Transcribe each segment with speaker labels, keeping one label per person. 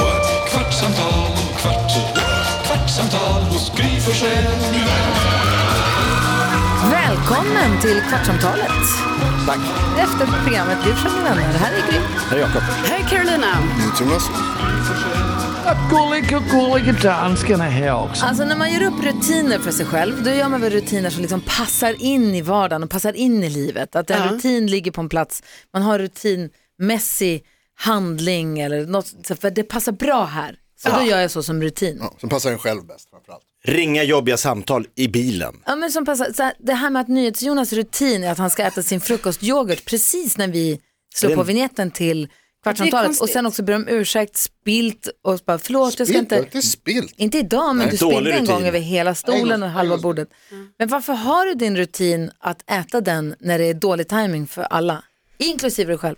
Speaker 1: what? kvartsamtal, kvart, what? kvartsamtal, Gry Forssell med vänner.
Speaker 2: Välkommen till Kvartsamtalet. Tack. Efter programmet Du som är vänner. Här är Gry.
Speaker 3: Hej Carolina!
Speaker 4: Gulliga, gulliga danskarna här också.
Speaker 2: Alltså när man gör upp rutiner för sig själv, då gör man väl rutiner som liksom passar in i vardagen och passar in i livet. Att en rutin ligger på en plats, man har rutinmässig handling eller något, så för det passar bra här. Så då gör jag så som rutin. Ja.
Speaker 5: Som passar en själv bäst framförallt.
Speaker 6: Ringa jobbiga samtal i bilen.
Speaker 2: men som passar, så här, det här med att NyhetsJonas rutin är att han ska äta sin frukostyoghurt precis när vi slår
Speaker 6: Det är
Speaker 2: på
Speaker 6: en-
Speaker 2: vignetten till Kvartsamtalet och
Speaker 3: konstigt.
Speaker 2: sen också ber om ursäkt, spilt och bara förlåt jag ska
Speaker 5: Spilt,
Speaker 2: inte...
Speaker 5: det är spilt.
Speaker 2: Inte idag, men du
Speaker 6: dålig
Speaker 2: spillde en
Speaker 6: rutin.
Speaker 2: gång över hela
Speaker 5: En
Speaker 2: stolen
Speaker 5: gång-
Speaker 2: och halva
Speaker 5: en gång.
Speaker 2: bordet. Men varför har du din rutin att äta den när det är dålig timing för alla? Inklusive dig själv.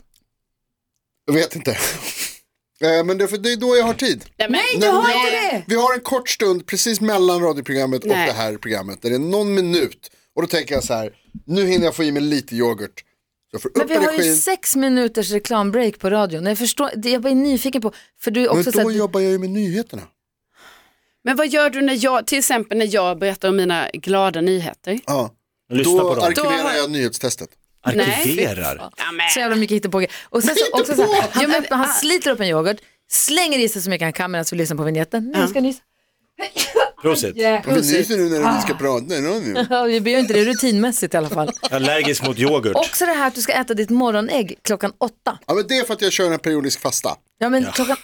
Speaker 5: Jag vet inte. Eh, Men det är, för det är då jag har tid.
Speaker 3: Nej, men,
Speaker 2: Du har
Speaker 3: Nej.
Speaker 2: inte det!
Speaker 5: Vi har en kort stund precis mellan radioprogrammet och
Speaker 3: Nej.
Speaker 5: det här programmet. Där det är någon minut. Och då tänker jag så här, nu hinner jag få i mig lite yoghurt. Så jag får
Speaker 2: Men
Speaker 5: upp
Speaker 2: vi har ju
Speaker 5: energin.
Speaker 2: sex minuters reklambreak på radion. Jag förstår, det- jag bara är nyfiken på, för du är
Speaker 5: Men
Speaker 2: också så
Speaker 5: då
Speaker 2: här,
Speaker 5: jobbar jag ju med nyheterna.
Speaker 3: men vad gör du när jag, till exempel när jag berättar om mina glada nyheter?
Speaker 5: Ja.
Speaker 6: Lyssna
Speaker 5: Då
Speaker 6: på dem.
Speaker 3: Då
Speaker 5: arkiverar
Speaker 3: har-
Speaker 5: jag nyhetstestet.
Speaker 6: Arkiverar.
Speaker 3: Ja, men.
Speaker 2: så jävla mycket hittepågrej. Och sen så, också så här, han, öppnar, han sliter upp en yoghurt, slänger i sig så mycket han kan medan vi lyssnar på vignetten. Nu ska jag nysa.
Speaker 6: Prosit.
Speaker 5: Men vi nyser nu
Speaker 2: Ah.
Speaker 5: när vi ska prata. Nej, nej, nej.
Speaker 2: Ja, vi gör inte det rutinmässigt i alla fall.
Speaker 6: Allergisk mot yoghurt.
Speaker 2: Också det här att du ska äta ditt morgonägg klockan åtta.
Speaker 5: Ja, men det är för att jag kör en periodisk fasta.
Speaker 2: Ja men klockan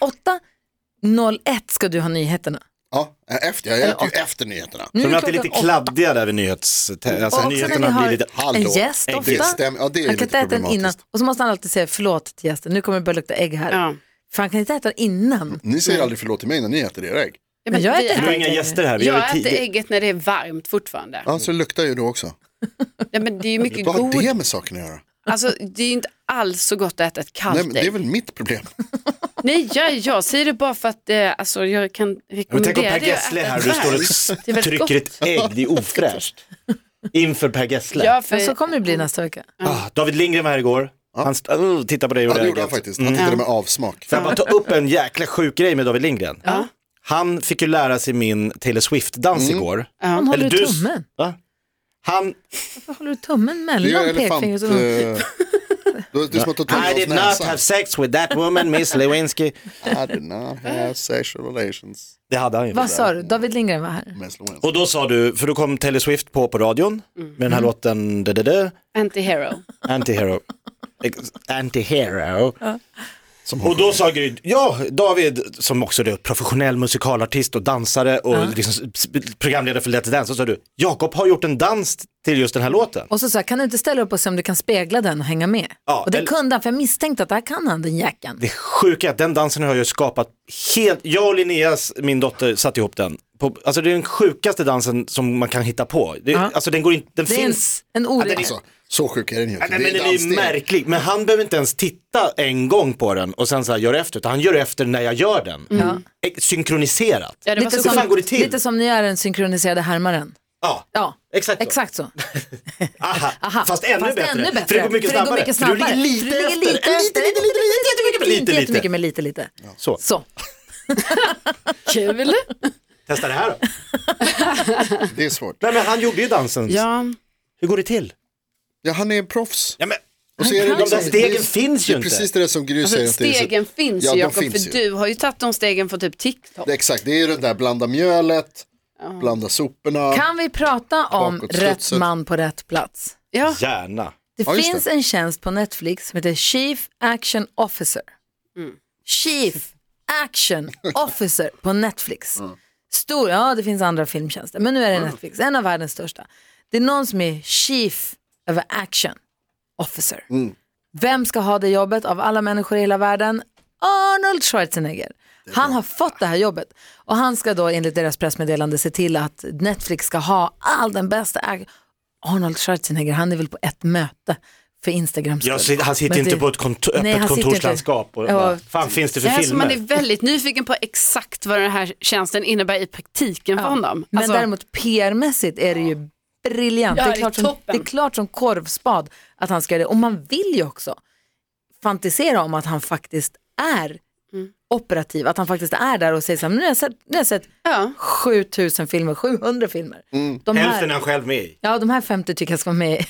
Speaker 2: 8.01 ska du ha nyheterna.
Speaker 5: Ja, efter, jag äter ju efter nyheterna.
Speaker 2: Nu
Speaker 6: Så de
Speaker 2: är
Speaker 6: är alltid lite
Speaker 2: klockan åtta.
Speaker 6: kladdiga där vid nyhets... Alltså
Speaker 2: Och också när vi
Speaker 6: nyheterna
Speaker 2: har
Speaker 6: blir lite...
Speaker 5: Hallå,
Speaker 2: en gäst
Speaker 6: ägg.
Speaker 2: ofta.
Speaker 5: Det stämmer. Ja, det är
Speaker 2: han kan inte
Speaker 5: lite
Speaker 2: äta den innan.
Speaker 5: problematiskt.
Speaker 2: Och så måste han alltid säga förlåt till gästen, nu kommer det börja lukta ägg här.
Speaker 3: Ja.
Speaker 2: För han kan inte äta den innan.
Speaker 5: Ni säger aldrig förlåt till mig när ni äter era ägg.
Speaker 3: Ja,
Speaker 2: Men jag äter
Speaker 3: vi
Speaker 6: Vi
Speaker 2: ägg.
Speaker 6: har
Speaker 3: är-
Speaker 6: inga gäster här. Vi gör
Speaker 3: Jag
Speaker 6: det
Speaker 3: äter
Speaker 6: tidigt.
Speaker 3: ägget när det är varmt fortfarande.
Speaker 5: Ja, så luktar ju då också.
Speaker 3: Nej, men det är ju mycket
Speaker 5: Vad har
Speaker 3: god.
Speaker 5: det med saken att göra?
Speaker 3: Alltså, det är ju inte alls så gott att äta ett kallt
Speaker 5: Nej,
Speaker 3: ägg.
Speaker 5: men det är väl mitt problem.
Speaker 3: Nej, jag, jag säger det bara för att eh, alltså, jag kan
Speaker 6: Men tänk om
Speaker 3: rekommendera
Speaker 6: Per
Speaker 3: dig
Speaker 6: Gessle är här och du står och s-
Speaker 3: Det är väldigt
Speaker 6: trycker ett ägg. Det är ofräscht. Inför Per Gessle.
Speaker 3: Ja, för,
Speaker 2: Men så kommer det bli nästa vecka.
Speaker 6: Ah, David Lindgren var här igår. Han st- oh, tittade på dig och
Speaker 5: Ja, det gjorde
Speaker 6: ägget.
Speaker 5: han faktiskt.
Speaker 3: Mm.
Speaker 5: Han tittade med avsmak.
Speaker 6: Får jag bara ta upp en jäkla sjuk grej med David Lindgren? Han fick ju lära sig min Taylor Swift-dans igår.
Speaker 2: Han håller
Speaker 6: Eller
Speaker 2: du
Speaker 6: du-
Speaker 2: tummen?
Speaker 6: Va? Han
Speaker 2: Varför håller du tummen
Speaker 5: Det är
Speaker 2: mellan
Speaker 5: elefant...
Speaker 2: pekfingret och tummen?
Speaker 5: eh, då- Det är som att ta
Speaker 6: I
Speaker 5: tungan
Speaker 6: did
Speaker 5: av
Speaker 6: not have
Speaker 5: näsan.
Speaker 6: sex with that woman, Miss Lewinsky.
Speaker 5: I did not have sexual relations.
Speaker 6: Det hade han ju.
Speaker 2: Vad sa du? David Lindgren var här.
Speaker 5: med Sloan.
Speaker 6: Och då sa du, för då kom Taylor Swift på på radion
Speaker 2: Mm.
Speaker 6: med den här låten da, da, da,
Speaker 3: anti-hero.
Speaker 6: Anti-Hero. Ex- Anti-Hero.
Speaker 5: Som
Speaker 6: Och då sa Gry, ja David som också är professionell musikalartist och dansare och liksom s- s- programledare för Let's Dance, så sa du, Jakob har gjort en dans till just den här låten.
Speaker 2: Och så sa jag, kan du inte ställa upp och se om du kan spegla den och hänga med?
Speaker 6: Ja,
Speaker 2: och det
Speaker 6: eller-
Speaker 2: kunde han, för jag misstänkte att det här kan han, den jäkeln.
Speaker 6: Det sjuka är att den dansen har jag ju skapat helt, jag och Linneas, min dotter, satte ihop den. På, alltså det är den sjukaste dansen som man kan hitta på. Det, Alltså den går inte, den
Speaker 2: Det är en,
Speaker 6: finns.
Speaker 2: en orimlig...
Speaker 5: Alltså, så sjuk är den ju inte.
Speaker 6: Nej,
Speaker 5: Det
Speaker 6: men den är ju
Speaker 5: danssteg.
Speaker 6: märklig, men han behöver inte ens titta en gång på den och sen så här gör efter, utan han gör efter när jag gör den. Eh, Synkroniserat.
Speaker 3: Ja, det var
Speaker 2: Lite
Speaker 3: så
Speaker 6: Hur fan
Speaker 2: som,
Speaker 6: går det till?
Speaker 2: lite som ni är den synkroniserade härmaren.
Speaker 6: Ja,
Speaker 2: Ja,
Speaker 6: exakt så.
Speaker 2: exakt så.
Speaker 6: Aha.
Speaker 2: Aha,
Speaker 6: Fast, ännu,
Speaker 2: fast
Speaker 6: bättre.
Speaker 2: ännu bättre.
Speaker 6: För det går mycket
Speaker 2: För det går
Speaker 6: snabbare.
Speaker 2: mycket
Speaker 6: För du ligger
Speaker 2: snabbare.
Speaker 6: lite
Speaker 2: För du ligger lite
Speaker 6: efter. Äh,
Speaker 2: efter.
Speaker 6: lite, lite, lite, lite, lite,
Speaker 2: Inte
Speaker 6: lite, lite,
Speaker 2: jättemycket,
Speaker 6: lite.
Speaker 2: men lite, lite.
Speaker 6: Så,
Speaker 2: Så.
Speaker 3: Kul!
Speaker 6: testa det här då.
Speaker 5: Det är svårt.
Speaker 6: Nej men han gjorde ju dansen.
Speaker 3: Ja,
Speaker 6: Hur går det till?
Speaker 5: Ja, han är proffs.
Speaker 6: Ja, men,
Speaker 5: Och så är
Speaker 6: de där
Speaker 5: det- liksom-
Speaker 6: stegen
Speaker 5: det är-
Speaker 6: finns ju
Speaker 5: Det är precis det som Gry säger.
Speaker 3: alltså,
Speaker 5: att det är så-
Speaker 3: stegen finns
Speaker 5: Ja,
Speaker 3: ju
Speaker 5: de
Speaker 3: Jakob,
Speaker 5: finns
Speaker 3: för
Speaker 5: ju.
Speaker 3: du har ju tagit de stegen från typ TikTok.
Speaker 5: Det är Exakt, det är ju den där blanda mjölet, blanda soporna.
Speaker 2: Kan vi prata om
Speaker 5: Bakåt,
Speaker 2: rätt
Speaker 5: studset.
Speaker 2: man på rätt plats?
Speaker 3: Ja.
Speaker 6: Gärna.
Speaker 2: Det
Speaker 5: Ja, just
Speaker 2: finns en tjänst på Netflix som heter Chief Action Officer. Chief Action Officer på Netflix.
Speaker 5: Mm.
Speaker 2: Stor, ja det finns andra filmtjänster, men nu är det Netflix, en av världens största. Det är någon som är Chief över Action Officer.
Speaker 6: Mm.
Speaker 2: Vem ska ha det jobbet av alla människor i hela världen? Arnold Schwarzenegger. Han har fått det här jobbet och han ska då enligt deras pressmeddelande se till att Netflix ska ha all den bästa äg- Arnold Schwarzenegger, han är väl på ett möte för Instagrams
Speaker 6: Jag,
Speaker 2: skull.
Speaker 6: sit- han sitter
Speaker 2: Men
Speaker 6: inte
Speaker 2: det-
Speaker 6: på ett kontor,
Speaker 2: Nej, han
Speaker 6: öppet
Speaker 2: sitter inte-
Speaker 6: kontorslandskap och
Speaker 2: Ja.
Speaker 6: bara, fan finns det för
Speaker 3: Alltså, man är
Speaker 6: filmer?
Speaker 3: väldigt nyfiken på exakt vad den här tjänsten innebär i praktiken för honom.
Speaker 2: Men
Speaker 3: Alltså,
Speaker 2: däremot PR-mässigt är det ju briljant.
Speaker 3: Ja,
Speaker 2: det, är
Speaker 3: det är
Speaker 2: klart som,
Speaker 3: toppen.
Speaker 2: det är klart som korvspad att han ska göra det. Och man vill ju också fantisera om att han faktiskt är
Speaker 3: Mm.
Speaker 2: operativ, att han faktiskt är där och säger så här, "Men nu har jag sett, nu har jag sett
Speaker 3: Ja.
Speaker 2: 7000 filmer, 700 filmer. De
Speaker 6: Hälften är
Speaker 2: här,
Speaker 6: han själv med i.
Speaker 2: ja, de här 50 tycker jag ska vara med,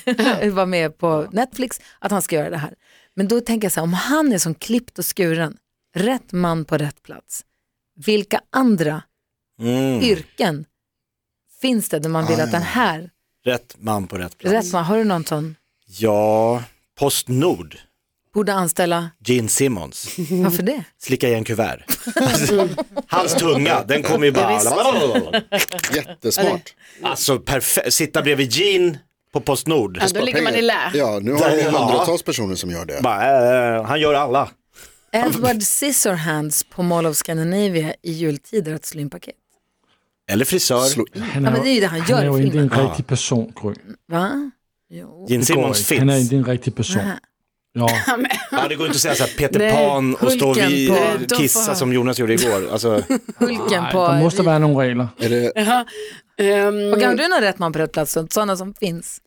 Speaker 2: vara med på Netflix, att han ska göra det här. Men då tänker jag så här, om han är som klippt och skuren, rätt man på rätt plats, vilka andra
Speaker 6: Mm.
Speaker 2: yrken finns det där man vill att den här,
Speaker 6: Rätt man på rätt plats.
Speaker 2: rätt man, har du någon som
Speaker 6: Ja, Postnord,
Speaker 2: borde anställa,
Speaker 6: Gene Simmons,
Speaker 2: varför det?
Speaker 6: slicka igen kuvert. Hans tunga, den kommer ju bara...
Speaker 5: Jättesmart.
Speaker 6: Alltså perfekt, sitta bredvid Gene på Postnord.
Speaker 3: ja, då ligger man i lä.
Speaker 5: Ja, nu har vi
Speaker 6: Där- ja.
Speaker 5: hundratals personer som gör det.
Speaker 6: Bara, eh, han gör alla.
Speaker 2: Edward Scissorhands på Mall of Scandinavia i jultider att slå in paket.
Speaker 6: Eller frisör.
Speaker 5: Slå i.
Speaker 4: Han
Speaker 2: Ja, men det är ju det han gör
Speaker 4: han är
Speaker 2: i
Speaker 4: ju inte
Speaker 2: filmen.
Speaker 4: en riktig person, Gry.
Speaker 2: Va? Jo.
Speaker 6: Gene
Speaker 4: Det går
Speaker 6: Simmons
Speaker 4: inte. Han är
Speaker 6: finns.
Speaker 4: inte en riktig person. Ja,
Speaker 6: Ja, det går inte att säga så här Peter
Speaker 2: Nej,
Speaker 6: Pan och stå och
Speaker 2: Hulken
Speaker 6: vi,
Speaker 2: på-
Speaker 6: eh,
Speaker 3: Då får
Speaker 6: kissa
Speaker 3: han-
Speaker 6: som Jonas gjorde igår. Alltså,
Speaker 2: Hulken
Speaker 4: Nej,
Speaker 2: på...
Speaker 4: det måste vara några regler.
Speaker 5: Är det,
Speaker 3: Ehm,
Speaker 2: Och har du någon rätt man på rätt plats? Sådana som finns.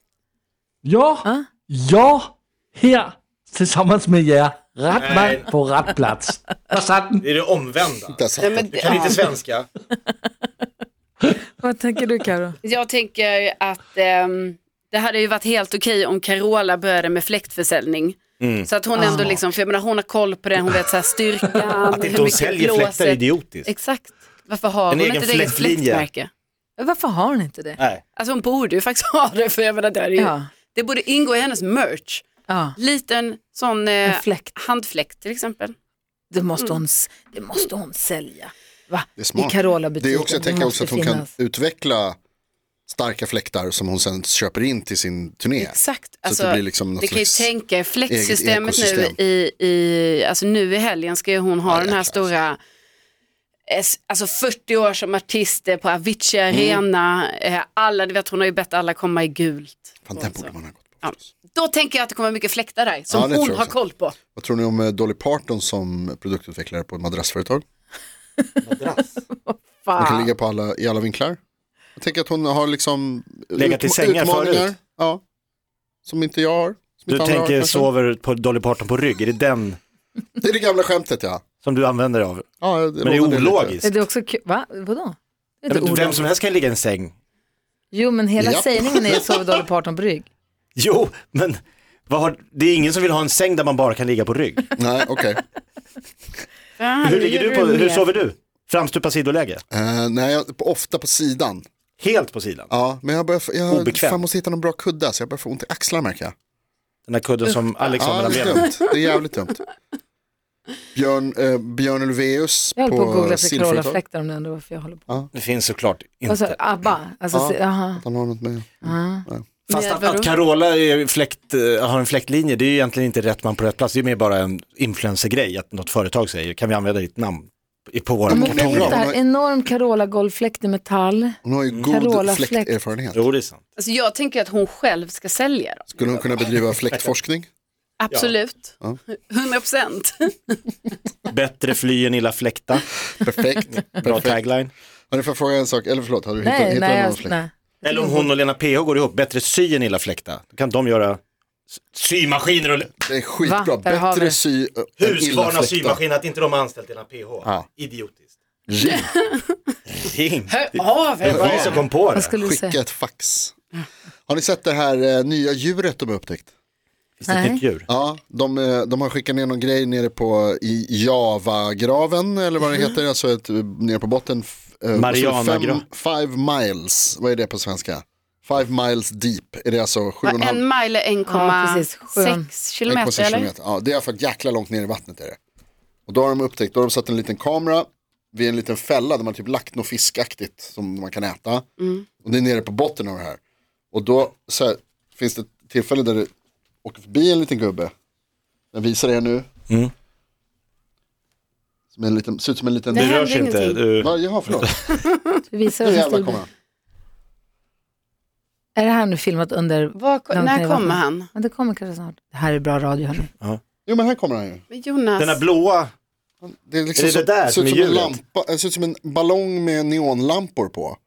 Speaker 4: Ja,
Speaker 2: Ja.
Speaker 4: ja, här tillsammans med er. Rätt man på rätt plats. Där satt den.
Speaker 6: det är det omvända.
Speaker 5: där satt den.
Speaker 3: men, ja.
Speaker 6: svenska.
Speaker 2: Vad tänker du Karo?
Speaker 3: Jag tänker att ehm, det hade ju varit helt okej om Carola började med fläktförsäljning.
Speaker 6: Mm.
Speaker 3: Så att hon
Speaker 2: Ah.
Speaker 3: ändå liksom, för jag menar hon har koll på det, hon vet så här styrkan,
Speaker 6: Att inte hon säljer fläktar är idiotiskt.
Speaker 3: Exakt. Varför har
Speaker 6: En
Speaker 3: hon
Speaker 6: egen
Speaker 3: inte ett eget
Speaker 6: fläktlinje.
Speaker 3: fläktmärke?
Speaker 2: Varför har hon inte det?
Speaker 6: Nej.
Speaker 3: Alltså hon borde ju faktiskt ha det, för jag menar det, är ju,
Speaker 2: Ja.
Speaker 3: det borde ingå i hennes merch.
Speaker 2: Ja,
Speaker 3: Liten sån eh,
Speaker 2: En fläkt.
Speaker 3: handfläkt till exempel.
Speaker 2: det måste hon, s- det måste hon sälja. Va?
Speaker 5: Det är smart.
Speaker 2: I Carola-butiken.
Speaker 5: Det är också, jag tänker
Speaker 2: måste
Speaker 5: också att hon kan
Speaker 2: finnas.
Speaker 5: utveckla starka fläktar som hon sen köper in till sin turné.
Speaker 3: Exakt.
Speaker 5: att
Speaker 3: Alltså,
Speaker 5: det blir liksom något
Speaker 3: ni kan ju
Speaker 5: slags
Speaker 3: tänka er fläktsystemet
Speaker 5: eget
Speaker 3: nu
Speaker 5: ekosystem.
Speaker 3: i, i, alltså nu i helgen ska ju hon ha den här
Speaker 5: jäklar. alltså.
Speaker 3: stora, eh, s- alltså 40 år som artist eh, på Avicii
Speaker 5: Mm.
Speaker 3: Arena, eh, alla, du vet hon har ju bett alla komma i gult.
Speaker 5: Fan, den borde man ha gått på.
Speaker 3: Ja. Då tänker jag att det kommer mycket fläktar där,
Speaker 5: Ja,
Speaker 3: som
Speaker 5: det tror
Speaker 3: hon
Speaker 5: jag
Speaker 3: har
Speaker 5: så.
Speaker 3: koll på.
Speaker 5: Vad tror ni om eh, Dolly Parton som produktutvecklare på ett madrassföretag? Hon kan
Speaker 2: Fan.
Speaker 5: ligga på alla, i alla vinklar. Jag tänker att hon har liksom
Speaker 6: Legat i sängar förut.
Speaker 5: Ja, som inte jag har. Som
Speaker 6: Du
Speaker 5: inte andra har,
Speaker 6: tänker
Speaker 5: kanske.
Speaker 6: sover på Dolly Parton på rygg, är det den
Speaker 5: Det är det gamla skämtet ja.
Speaker 6: som du använder dig av?
Speaker 5: ja jag
Speaker 6: Men det är
Speaker 5: lånade lite.
Speaker 6: ologiskt.
Speaker 2: Är det också kul? Va? Vadå? Det är inte
Speaker 6: Ja, men Vem
Speaker 2: olagligt.
Speaker 6: som helst kan ligga i en säng.
Speaker 2: Jo, men hela
Speaker 5: Japp.
Speaker 2: sägningen är sover dåligt på 18 brygg.
Speaker 6: Jo, men vad har, det är ingen som vill ha en säng där man bara kan ligga på rygg.
Speaker 5: Nej, okej.
Speaker 6: Hur, ligger du på, hur sover du? Framstupa sidoläge?
Speaker 5: Eh, nej, jag, på, ofta på sidan.
Speaker 6: Helt på sidan?
Speaker 5: Ja, men jag börjar, få- jag
Speaker 6: Obekväm.
Speaker 5: fan, måste hitta någon bra kudde så jag börjar få ont i axlarna märker jag.
Speaker 6: Den där kudden som Alex har
Speaker 5: Ja,
Speaker 6: Liksom mellan
Speaker 5: det är
Speaker 6: benen?
Speaker 5: dumt. Det är jävligt dumt. Björn, eh, Björn Ulvaeus
Speaker 2: Jag höll på att
Speaker 5: på,
Speaker 2: googla efter
Speaker 5: sillföretag.
Speaker 2: Carola-fläktar om det ändå varför jag håller på.
Speaker 6: Det finns såklart
Speaker 2: Alltså
Speaker 6: inte.
Speaker 2: ABBA, alltså,
Speaker 5: Ja.
Speaker 2: se- jaha.
Speaker 5: Han har något med.
Speaker 6: Fast att,
Speaker 3: Nej, vadå?
Speaker 6: att Carola är fläkt, eh, har en fläktlinje, det är ju egentligen inte rätt man på rätt plats. Det är mer bara en influencergrej, att något företag säger, kan vi använda ditt namn i- på våra
Speaker 2: De har
Speaker 6: kartonger?
Speaker 5: bra.
Speaker 2: fläktar, enorm Carola-golvfläkt i metall.
Speaker 5: Hon har ju
Speaker 2: Carola
Speaker 5: god
Speaker 2: Fläkt.
Speaker 5: fläkterfarenhet.
Speaker 6: Jo, det är sant.
Speaker 3: Alltså, jag tänker att hon själv ska sälja dem.
Speaker 5: Skulle hon kunna bedriva fläktforskning?
Speaker 3: Absolut.
Speaker 5: Ja.
Speaker 3: 100 procent.
Speaker 6: Bättre fly än illa fläkta,
Speaker 5: Perfekt.
Speaker 6: bra
Speaker 5: Perfekt.
Speaker 6: tagline.
Speaker 5: Har du får jag fråga en sak, eller förlåt, har du hittat,
Speaker 2: Nej,
Speaker 5: hittat
Speaker 2: nej,
Speaker 5: någon
Speaker 2: jag,
Speaker 5: fläkt?
Speaker 2: nej.
Speaker 6: Eller om hon och Lena PH går ihop, bättre sy än illa fläkta. Då kan de göra s- symaskiner och
Speaker 5: Det är skitbra,
Speaker 2: Va? Där har vi
Speaker 5: bättre
Speaker 2: det.
Speaker 5: sy än illa
Speaker 6: Husqvarna
Speaker 5: fläktar.
Speaker 6: symaskin, att inte de har anställt Lena PH.
Speaker 5: Ja.
Speaker 6: Idiotiskt.
Speaker 5: Ring.
Speaker 6: Ring.
Speaker 3: Hör av
Speaker 6: Det var
Speaker 3: er.
Speaker 6: vi som kom på det.
Speaker 2: Vad skulle du
Speaker 5: Skicka
Speaker 2: säga?
Speaker 5: ett fax. Har ni sett det här eh, nya djuret de har upptäckt?
Speaker 6: Finns det ett
Speaker 2: Nej.
Speaker 6: nytt djur?
Speaker 5: Ja, de, eh, de har skickat ner någon grej nere på i Javagraven eller vad det heter, alltså ett, eh, nere på botten. f- eh, vad står det?
Speaker 6: Marianagra-
Speaker 5: Fem- Five miles, vad är det på svenska? Five miles deep, är det alltså sju
Speaker 3: Va,
Speaker 5: och en halv?
Speaker 3: En mile är
Speaker 2: Ja, precis. Sjön.
Speaker 3: 1,6 kilometer
Speaker 5: 1,6
Speaker 3: eller?
Speaker 5: kilometer. Ja, det är för jäkla långt ner i vattnet är det. Och då har de upptäckt, då har de satt en liten kamera vid en liten fälla där man typ lagt något fiskaktigt som man kan äta.
Speaker 3: Mm.
Speaker 5: Och det är nere på botten av det här. Och då så här, finns det ett tillfälle där det åker förbi en liten gubbe. Jag visar er nu. Som är en liten, ser ut som en liten...
Speaker 3: Det
Speaker 6: Det
Speaker 3: händer
Speaker 6: rör sig inte.
Speaker 3: ingenting.
Speaker 6: Du,
Speaker 5: Va, jaha, förlåt.
Speaker 2: Vi visar
Speaker 5: Nu
Speaker 2: oss i
Speaker 5: jävlar
Speaker 2: studion.
Speaker 5: kommer han.
Speaker 2: Är det här nu filmat under...
Speaker 3: Var, ko-
Speaker 2: Långt ner
Speaker 3: när
Speaker 2: i vattnet.
Speaker 3: kommer han?
Speaker 2: Men det kommer kanske snart. Det här är bra radio hörni.
Speaker 5: Jo, men här kommer han ju.
Speaker 3: Men Jonas,
Speaker 6: den här blåa,
Speaker 5: Det är liksom
Speaker 6: Är det det där
Speaker 5: ser ut
Speaker 6: som är
Speaker 5: som en
Speaker 6: hjulet?
Speaker 5: lampa, det ser ut som en ballong med neonlampor på.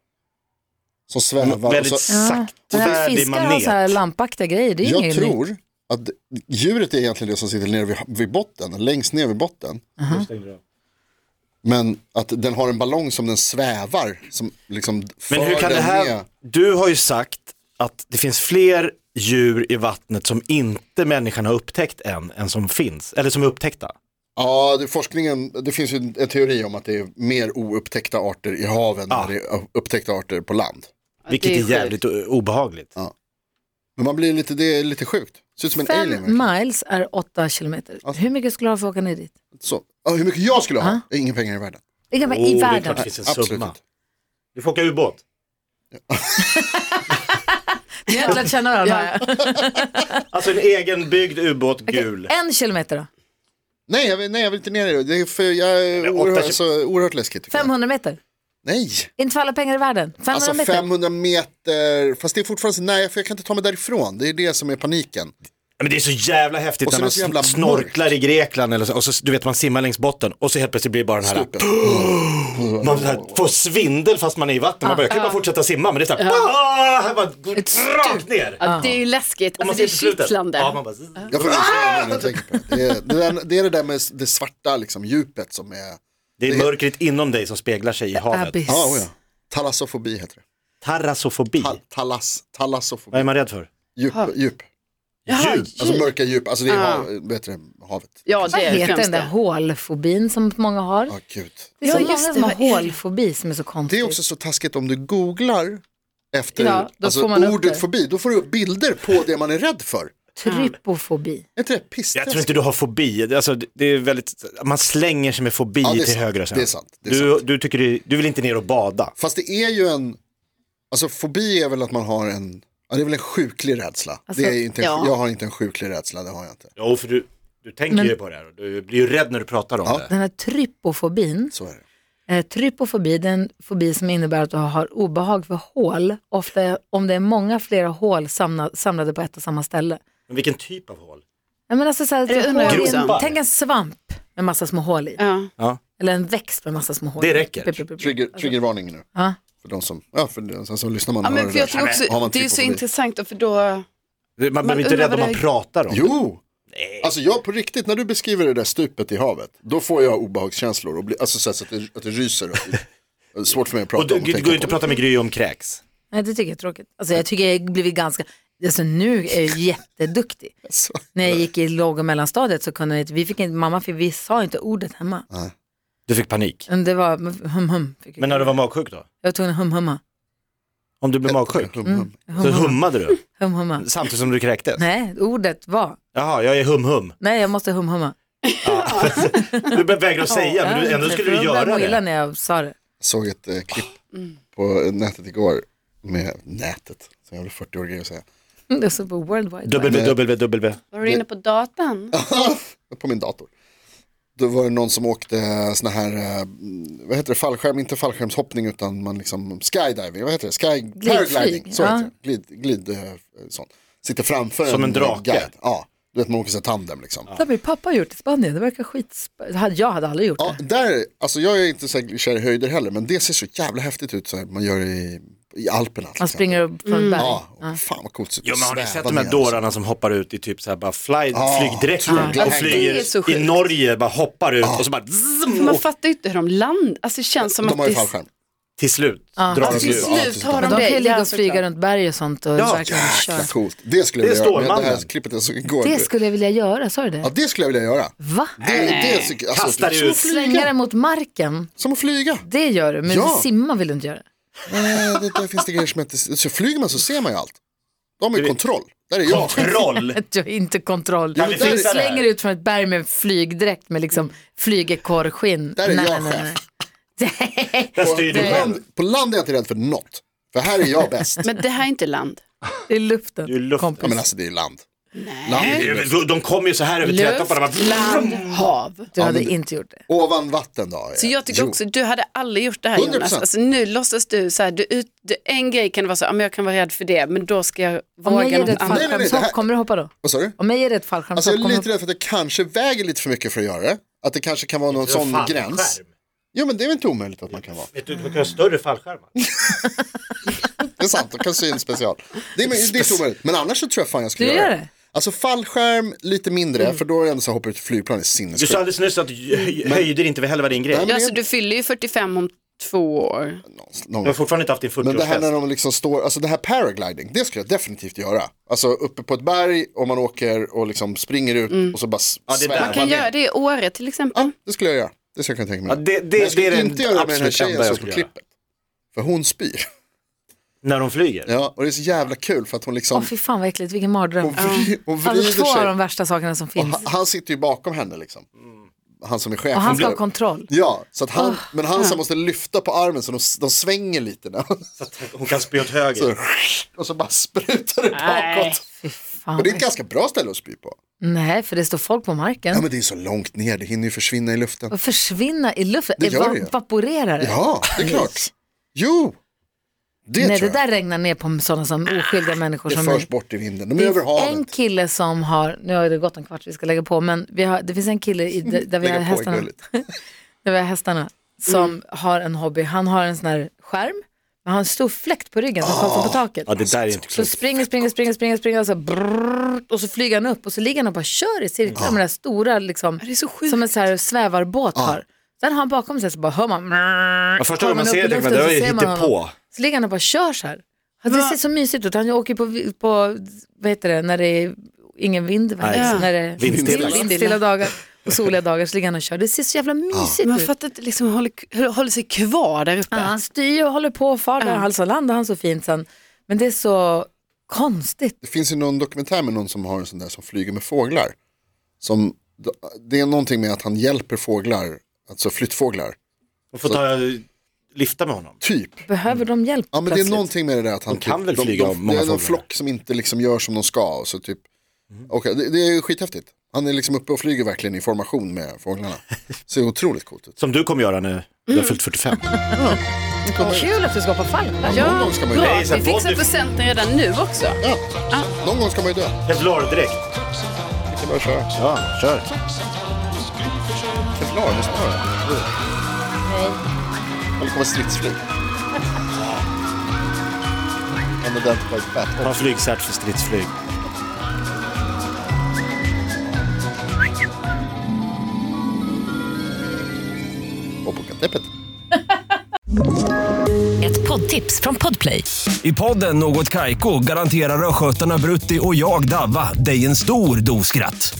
Speaker 5: Som svävar.
Speaker 6: Mm,
Speaker 5: alltså,
Speaker 6: väldigt
Speaker 5: och så,
Speaker 2: Men att
Speaker 6: saktfärdig
Speaker 2: fiskar har så här
Speaker 6: manet.
Speaker 2: lampaktiga grejer, det är ju
Speaker 5: jag
Speaker 2: inget nytt.
Speaker 5: tror att d- djuret är egentligen det som sitter nere vid, vid botten, längst ner vid botten. Men att den har en ballong som den svävar. Som liksom
Speaker 6: Men hur
Speaker 5: för
Speaker 6: kan det
Speaker 5: den
Speaker 6: här,
Speaker 5: med.
Speaker 6: du har ju sagt att det finns fler djur i vattnet som inte människan har upptäckt än, än som finns, eller som är upptäckta.
Speaker 5: Ja, det, forskningen, det finns ju en en teori om att det är mer oupptäckta arter i haven
Speaker 6: Ah.
Speaker 5: än det är upptäckta arter på land.
Speaker 6: Vilket
Speaker 3: det är
Speaker 6: är jävligt o- obehagligt.
Speaker 5: Men man blir lite, det är lite sjukt. Ser ut som en
Speaker 2: Fem
Speaker 5: alien. verkligen.
Speaker 2: miles är åtta kilometer.
Speaker 5: Alltså-
Speaker 2: Hur mycket skulle du ha för att åka ner dit?
Speaker 5: Så, ja, hur mycket jag skulle ha? Inga pengar i världen.
Speaker 2: Det kan vara
Speaker 6: Åh,
Speaker 2: i
Speaker 6: Oh, det är
Speaker 2: världen.
Speaker 6: klart det finns en
Speaker 5: Absolut
Speaker 6: summa.
Speaker 5: inte.
Speaker 6: Du får åka ubåt.
Speaker 2: Ni har inte lärt känna varandra. har jag.
Speaker 6: Alltså en egenbyggd ubåt,
Speaker 2: Okej,
Speaker 6: gul.
Speaker 2: En kilometer då?
Speaker 5: Nej, jag vill, nej, jag vill inte ner i det. det är för, jag är
Speaker 6: åtta
Speaker 5: oerhört,
Speaker 6: kilo-
Speaker 5: alltså, oerhört läskigt. tycker jag.
Speaker 2: 500 meter?
Speaker 5: Nej,
Speaker 2: Inte för alla pengar i världen. 500
Speaker 5: alltså
Speaker 2: meter?
Speaker 5: 500 meter. Fast det är fortfarande, så- nej, för jag kan inte ta mig därifrån. Det är det som är paniken.
Speaker 6: Men det är så jävla häftigt
Speaker 5: Och så
Speaker 6: när
Speaker 5: är
Speaker 6: man
Speaker 5: det så jävla
Speaker 6: sn- snorklar i Grekland eller så, och så, du vet man simmar längs botten och så helt plötsligt blir det bara den här,
Speaker 5: Stupet.
Speaker 6: man så här, får svindel fast man är i vatten. Man bara, jag kan ju bara fortsätta simma men det är så här, ah, här bara, går rakt ner.
Speaker 3: ja, det är ju läskigt.
Speaker 6: Och man
Speaker 3: Alltså, det är
Speaker 6: ser inte slutet.
Speaker 3: kittlande.
Speaker 6: Ja, man bara,
Speaker 5: Jag får ah! jag tänker på det. Det, är, det, där, det är det där med s- det svarta liksom, djupet som är...
Speaker 6: det är mörkret inom dig som speglar sig i havet.
Speaker 2: Abyss.
Speaker 5: Ja, oh ja. Talassofobi heter det.
Speaker 6: Tarasofobi.
Speaker 5: Ta, talas, talassofobi.
Speaker 6: Vad är man rädd för?
Speaker 5: Djup, djup.
Speaker 3: Jaha,
Speaker 6: Djup.
Speaker 5: Alltså
Speaker 3: djup.
Speaker 5: mörka djup. Alltså det är hav, vet du, det, havet.
Speaker 3: Ja,
Speaker 2: Vad
Speaker 3: det är
Speaker 2: heter den
Speaker 3: främst
Speaker 2: där
Speaker 3: det.
Speaker 2: hålfobin som många har?
Speaker 5: Ja, gud.
Speaker 2: Det är så
Speaker 3: Ja, just
Speaker 2: många
Speaker 3: det,
Speaker 2: som har
Speaker 3: vad är det?
Speaker 2: hålfobi som är så
Speaker 5: Det
Speaker 2: konstigt.
Speaker 5: är också så taskigt om du googlar efter
Speaker 2: Ja, då
Speaker 5: alltså,
Speaker 2: får man upp det.
Speaker 5: ordet fobi. Då får du upp bilder på det man är rädd för.
Speaker 2: Trypofobi.
Speaker 5: Är inte det pisst?
Speaker 6: Jag tror inte du har fobi. Det- Alltså, det är väldigt, man slänger sig med fobi
Speaker 5: Ja, det är
Speaker 6: till
Speaker 5: sant.
Speaker 6: höger och sen.
Speaker 5: Det är sant. Det är
Speaker 6: du,
Speaker 5: sant.
Speaker 6: du, tycker du, du vill inte ner och bada.
Speaker 5: Fast det är ju en, alltså fobi är väl att man har en, ja det är väl en sjuklig rädsla.
Speaker 2: Alltså,
Speaker 5: det är inte en,
Speaker 3: ja.
Speaker 5: Jag har inte en sjuklig rädsla, det har jag inte.
Speaker 6: Jo, för du, du tänker
Speaker 2: Men-
Speaker 6: ju på det här och du blir ju rädd när du pratar om
Speaker 5: Ja.
Speaker 6: det.
Speaker 2: Den här trypofobin,
Speaker 5: Så är det.
Speaker 2: eh, trypofobi, det är en fobi som innebär att du har obehag för hål, ofta är- om det är många flera hål samla, samlade på ett och samma ställe.
Speaker 6: Men vilken typ av hål?
Speaker 2: Ja, men alltså, så här,
Speaker 3: Det
Speaker 2: så
Speaker 3: undrar jag
Speaker 2: hål i
Speaker 6: också.
Speaker 2: en, tänk en svamp med massa små hål i,
Speaker 3: Ja.
Speaker 6: Ja.
Speaker 2: eller en växt med massa små hål i.
Speaker 6: Det räcker.
Speaker 2: Pip, pip, pip, pip.
Speaker 5: Trigger, triggervarning nu.
Speaker 2: Ja.
Speaker 5: För de som, ja för den som, som lyssnar man
Speaker 3: alltså. Ja, men
Speaker 5: och hör
Speaker 3: för jag tror
Speaker 5: där.
Speaker 3: också,
Speaker 5: Har man typ
Speaker 3: det är ju så
Speaker 5: trypofobi?
Speaker 3: intressant då, för då,
Speaker 6: Man, behöver inte
Speaker 3: undrar
Speaker 6: rädd om
Speaker 3: vad
Speaker 6: man
Speaker 3: det-
Speaker 6: pratar om det.
Speaker 5: Jo! Alltså jag på riktigt, när du beskriver det där stupet i havet, då får jag obehagskänslor och blir, alltså så, här, så att, det, att det ryser. Och, det är svårt för mig att prata
Speaker 6: Och du,
Speaker 5: om.
Speaker 6: du går ju inte att prata med Gry om kräks.
Speaker 2: Nej, det tycker jag är tråkigt. Alltså, jag tycker jag har blivit ganska, alltså, nu är jag jätteduktig. När jag gick i låg och mellanstadiet så kunde jag inte, vi fick inte, mamma fick, vi sa inte ordet hemma.
Speaker 6: Du fick panik.
Speaker 2: Men Det var hum hum. Fick jag.
Speaker 6: Men när du var magsjuk då?
Speaker 2: Jag var tvungen att hum humma.
Speaker 6: Om du blev magsjuk?
Speaker 5: Hum, hum.
Speaker 6: Så hummade du
Speaker 2: Hum humma.
Speaker 6: samtidigt som du kräktes?
Speaker 2: Nej, ordet var.
Speaker 6: Jaha, jag är hum-hum.
Speaker 2: Nej, jag måste hum humma.
Speaker 6: Du vägrar att säga men du, ändå skulle du
Speaker 2: Jag började
Speaker 6: göra
Speaker 2: må illa
Speaker 6: det.
Speaker 2: när jag sa det.
Speaker 5: såg ett eh, klipp på nätet igår med nätet, så jag blev 40 år grej att säga.
Speaker 2: Mm, Det stod på World Wide Web.
Speaker 6: www.
Speaker 3: var du inne på datan?
Speaker 5: Ah, på min dator. Då var det någon som åkte eh, såna här, eh, vad heter det, fallskärm, inte fallskärmshoppning utan man liksom skydiving, vad heter det, sky, paragliding, så
Speaker 2: ja.
Speaker 5: heter det, glid, glid eh, sånt. Sitter framför
Speaker 6: Som en
Speaker 5: eh,
Speaker 6: drake.
Speaker 5: guide. Ja, du vet man åker så här tandem liksom.
Speaker 2: Det har min pappa gjort i Spanien, det verkar skits... Jag hade aldrig gjort
Speaker 5: Ja,
Speaker 2: det.
Speaker 5: där, alltså jag är inte så här kär i höjder heller, men det ser så jävla häftigt ut så här, man gör i, i Alperna. till
Speaker 2: Man
Speaker 5: exempel.
Speaker 2: springer upp från berg.
Speaker 5: Ja, och fan vad coolt.
Speaker 6: Jo men har ni sett
Speaker 5: Sväva
Speaker 6: de här
Speaker 5: ner. alltså.
Speaker 6: dårarna som hoppar ut i typ så här bara fly,
Speaker 5: Ah,
Speaker 6: flygdräkten
Speaker 5: true.
Speaker 6: och
Speaker 3: alltså. Det är så
Speaker 6: flyger
Speaker 3: sjukt.
Speaker 6: i Norge, bara hoppar ut och så bara
Speaker 3: För
Speaker 6: zzz,
Speaker 3: man
Speaker 6: och
Speaker 3: fattar ju inte hur de landar. Alltså det känns som
Speaker 5: De
Speaker 3: att
Speaker 5: har ju
Speaker 3: det...
Speaker 5: fallskärm.
Speaker 6: till slut drar
Speaker 3: Till
Speaker 6: de sig ur.
Speaker 5: Ja,
Speaker 3: slut
Speaker 5: precis.
Speaker 3: har
Speaker 2: Men
Speaker 3: de
Speaker 2: de kan ju
Speaker 3: det.
Speaker 2: ligga
Speaker 3: Ja,
Speaker 2: och flyga
Speaker 3: såklart.
Speaker 2: runt berg och sånt och
Speaker 6: Ja,
Speaker 2: verkligen köra.
Speaker 5: Jäkla coolt. Det skulle jag
Speaker 6: Det
Speaker 5: vilja
Speaker 6: står
Speaker 5: göra. Men det här
Speaker 6: mannen.
Speaker 5: klippet jag såg igår.
Speaker 2: Det skulle jag vilja göra, sa du det?
Speaker 5: Ja, det skulle jag vilja göra.
Speaker 2: Va?
Speaker 5: Det, det, tycker- alltså,
Speaker 6: Kasta dig
Speaker 5: som,
Speaker 6: ut.
Speaker 5: att
Speaker 2: Slänga
Speaker 5: flyga,
Speaker 2: den mot marken,
Speaker 5: som att flyga.
Speaker 2: det gör du, men
Speaker 5: Ja.
Speaker 2: simma vill du inte göra.
Speaker 5: Nej, det, där finns det grejer som inte... Så flyger man så ser man ju allt. De har ju kontroll. Där är jag.
Speaker 6: Kontroll!
Speaker 2: Att du har inte kontroll.
Speaker 5: Ja, men där-
Speaker 2: du slänger ut från ett berg med en flygdräkt med liksom flygekorrskinn.
Speaker 5: Där är
Speaker 2: Nej,
Speaker 5: jag
Speaker 2: nej, nej, nej. Nej,
Speaker 6: Där styr
Speaker 5: På
Speaker 6: du själv.
Speaker 5: land, på land är jag inte rädd för något. För här är jag bäst.
Speaker 3: Men det här är inte land.
Speaker 2: Det är luften.
Speaker 6: Det är luften.
Speaker 2: kompis.
Speaker 5: Ja, men alltså det är land. Land,
Speaker 6: Det är väl- De kommer ju så här över trätan
Speaker 3: Luft,
Speaker 6: bara.
Speaker 3: land, hav.
Speaker 2: Du hade
Speaker 5: men-
Speaker 2: inte gjort det.
Speaker 5: Ovan vatten då?
Speaker 3: Så jag tycker
Speaker 5: Jo.
Speaker 3: också, du hade aldrig gjort det här Jonas.
Speaker 5: 100%.
Speaker 3: Alltså, nu låtsas du så här, du, ut, du, en grej kan det vara så, ah, men jag kan vara rädd för det, men då ska jag
Speaker 2: Om jag
Speaker 3: våga
Speaker 2: ger dig
Speaker 3: något
Speaker 2: ett
Speaker 3: annat.
Speaker 5: Nej, nej, nej, det
Speaker 2: fallskärmshopp,
Speaker 5: här-
Speaker 2: kommer du hoppa då?
Speaker 5: Vad sa du?
Speaker 2: Om jag ger dig ett
Speaker 5: Alltså
Speaker 2: fallskärmshopp,
Speaker 5: jag är
Speaker 2: kommer du
Speaker 5: lite
Speaker 2: hoppa?
Speaker 5: rädd för att det kanske väger lite för mycket för att göra det. Att det kanske kan vara någon sån gräns. Jo men det är väl inte omöjligt att man kan vara.
Speaker 6: Vet du, man kan ha större fallskärmar.
Speaker 5: Det är sant, de kan sy en special. Det är, men det är inte omöjligt. Men annars så tror jag fan jag skulle
Speaker 2: Du
Speaker 5: göra
Speaker 2: gör
Speaker 5: det.
Speaker 2: det?
Speaker 5: Alltså fallskärm, lite mindre, för då är det ändå så här, hoppa ut i flygplan, det är
Speaker 6: Du sa
Speaker 5: sinnessjukt.
Speaker 6: alldeles nyss att hö- höjder inte heller var din grej.
Speaker 5: Nej,
Speaker 6: Du
Speaker 3: Ja, alltså, du fyller ju 45 om två år.
Speaker 5: Någon
Speaker 6: har
Speaker 5: gång.
Speaker 6: fortfarande inte haft din
Speaker 5: Men det här när
Speaker 6: 40-årsfest.
Speaker 5: de liksom står, alltså det här paragliding, det skulle jag definitivt göra. Alltså uppe på ett berg och man åker och liksom springer ut och så bara s-
Speaker 6: Ja, det är där.
Speaker 5: svävar
Speaker 6: Man
Speaker 3: Man kan
Speaker 5: ner.
Speaker 3: göra det i året till exempel.
Speaker 5: Ja, det skulle jag göra. Det skulle jag kunna tänka mig.
Speaker 6: Ja, det- det-
Speaker 5: Men jag skulle
Speaker 6: det är den
Speaker 5: inte göra med den här
Speaker 6: absolut enda
Speaker 5: tjejen
Speaker 6: jag
Speaker 5: som på
Speaker 6: skulle
Speaker 5: klippet. För hon spyr.
Speaker 6: När de flyger.
Speaker 5: Ja, och det är så jävla kul för att hon
Speaker 2: Åh
Speaker 5: liksom,
Speaker 2: fy fan vad äckligt, vilken mardröm.
Speaker 5: hon, vri, hon vrider
Speaker 2: Alltså två av
Speaker 5: sig.
Speaker 2: de värsta sakerna som
Speaker 5: Och
Speaker 2: finns.
Speaker 5: han, han sitter ju bakom henne liksom. Han som är chef.
Speaker 2: Och han
Speaker 5: Hon
Speaker 2: ska ha
Speaker 5: blir-
Speaker 2: kontroll.
Speaker 5: Ja, så att han, men han som måste lyfta på armen så de, de svänger lite. När,
Speaker 6: Så att hon kan spy åt
Speaker 5: så,
Speaker 6: höger.
Speaker 5: och så bara sprutar det
Speaker 3: Nej.
Speaker 5: bakåt.
Speaker 2: Fy fan.
Speaker 5: Och det är ett ganska bra ställe att spy på.
Speaker 2: Nej, för det står folk på marken.
Speaker 5: Ja men det är så långt ner, det hinner ju försvinna i luften.
Speaker 2: Och försvinna i luften,
Speaker 5: Det gör
Speaker 2: Eva-
Speaker 5: det ju.
Speaker 2: evaporerar det.
Speaker 5: Ja, det är klart. Jo, det
Speaker 2: Nej, det
Speaker 5: tror
Speaker 2: där
Speaker 5: jag.
Speaker 2: regnar ner på sådana som oskyldiga människor
Speaker 5: Det
Speaker 2: som mig.
Speaker 5: förs bort i vinden, de är
Speaker 2: Det
Speaker 5: över
Speaker 2: finns en
Speaker 5: havet.
Speaker 2: kille som har, nu har det gått en kvart vi ska lägga på, men vi har, det finns en kille i, där, där vi har
Speaker 5: Lägga på är
Speaker 2: hästarna,
Speaker 5: gulligt.
Speaker 2: där vi har hästarna som har en hobby. Han har en sån här skärm, men han har en stor fläkt på ryggen som kommer på taket.
Speaker 6: Ah. Ja, det där är inte
Speaker 2: Så
Speaker 6: klokt.
Speaker 2: springer, springer, springer, springer, springer och så, brrrr, och så flyger han upp och så ligger han och bara kör i cirklar med den här stora, liksom,
Speaker 3: Det är så sjukt.
Speaker 2: som en så här svävarbåt har. Sen har han bakom sig så bara hör man.
Speaker 6: Ja, första
Speaker 2: kommer
Speaker 6: gången
Speaker 2: upp
Speaker 6: man
Speaker 2: i
Speaker 6: ser det tänker
Speaker 2: luften
Speaker 6: man det
Speaker 2: så
Speaker 6: var ju
Speaker 2: ser man honom.
Speaker 6: hittepå.
Speaker 2: Så ligger han och bara kör så här. Alltså, det ser så mysigt ut. Han åker på, på vad heter det, när det är ingen vind. vad heter det?
Speaker 6: Nej.
Speaker 2: När det är
Speaker 6: Vindstilla.
Speaker 2: vindstilla dagar och soliga dagar så ligger han och kör. Det ser så jävla mysigt
Speaker 3: Man
Speaker 2: ut.
Speaker 3: fattar inte, liksom, håller, hur- håller sig kvar där uppe.
Speaker 2: Ja, han styr och håller på och far där. Alltså landar han så fint sen. Men det är så konstigt.
Speaker 5: Det finns ju någon dokumentär med någon som har en sån där som flyger med fåglar. Som, det är någonting med att han hjälper fåglar, alltså flyttfåglar,
Speaker 6: De får ta, lyfta med honom.
Speaker 5: typ.
Speaker 2: Behöver de hjälp
Speaker 5: Ja men det är någonting med det där att han
Speaker 6: De kan
Speaker 5: typ,
Speaker 6: väl flyga av många
Speaker 5: Det är någon
Speaker 6: fåglar. Mm.
Speaker 5: flock som inte liksom gör som de ska. Så typ, Okej, det, det är ju skithäftigt. Han är liksom uppe och flyger verkligen i formation med fåglarna. Ser otroligt coolt ut.
Speaker 6: Som du kommer göra nu. Du har fyllt 45.
Speaker 5: Mm.
Speaker 2: Kul att du ska på fallskärm.
Speaker 5: Ja, någon gång ska man ju dö.
Speaker 6: så här
Speaker 3: Vi fixar
Speaker 6: body-
Speaker 3: presenten redan nu också.
Speaker 5: Ja, någon gång ska man ju dö.
Speaker 6: Kevlar-dräkt.
Speaker 5: Det är bara att köra.
Speaker 6: Ja, kör.
Speaker 5: Kevlar, det snarare. Och det kommer stridsflyg. And identified fat.
Speaker 6: Ta flygcert för stridsflyg.
Speaker 5: Och på katteppet.
Speaker 7: Ett poddtips från Podplay.
Speaker 8: I podden Något Kaiko garanterar östgötarna Brutti och jag, Davva, dig en stor dos skratt.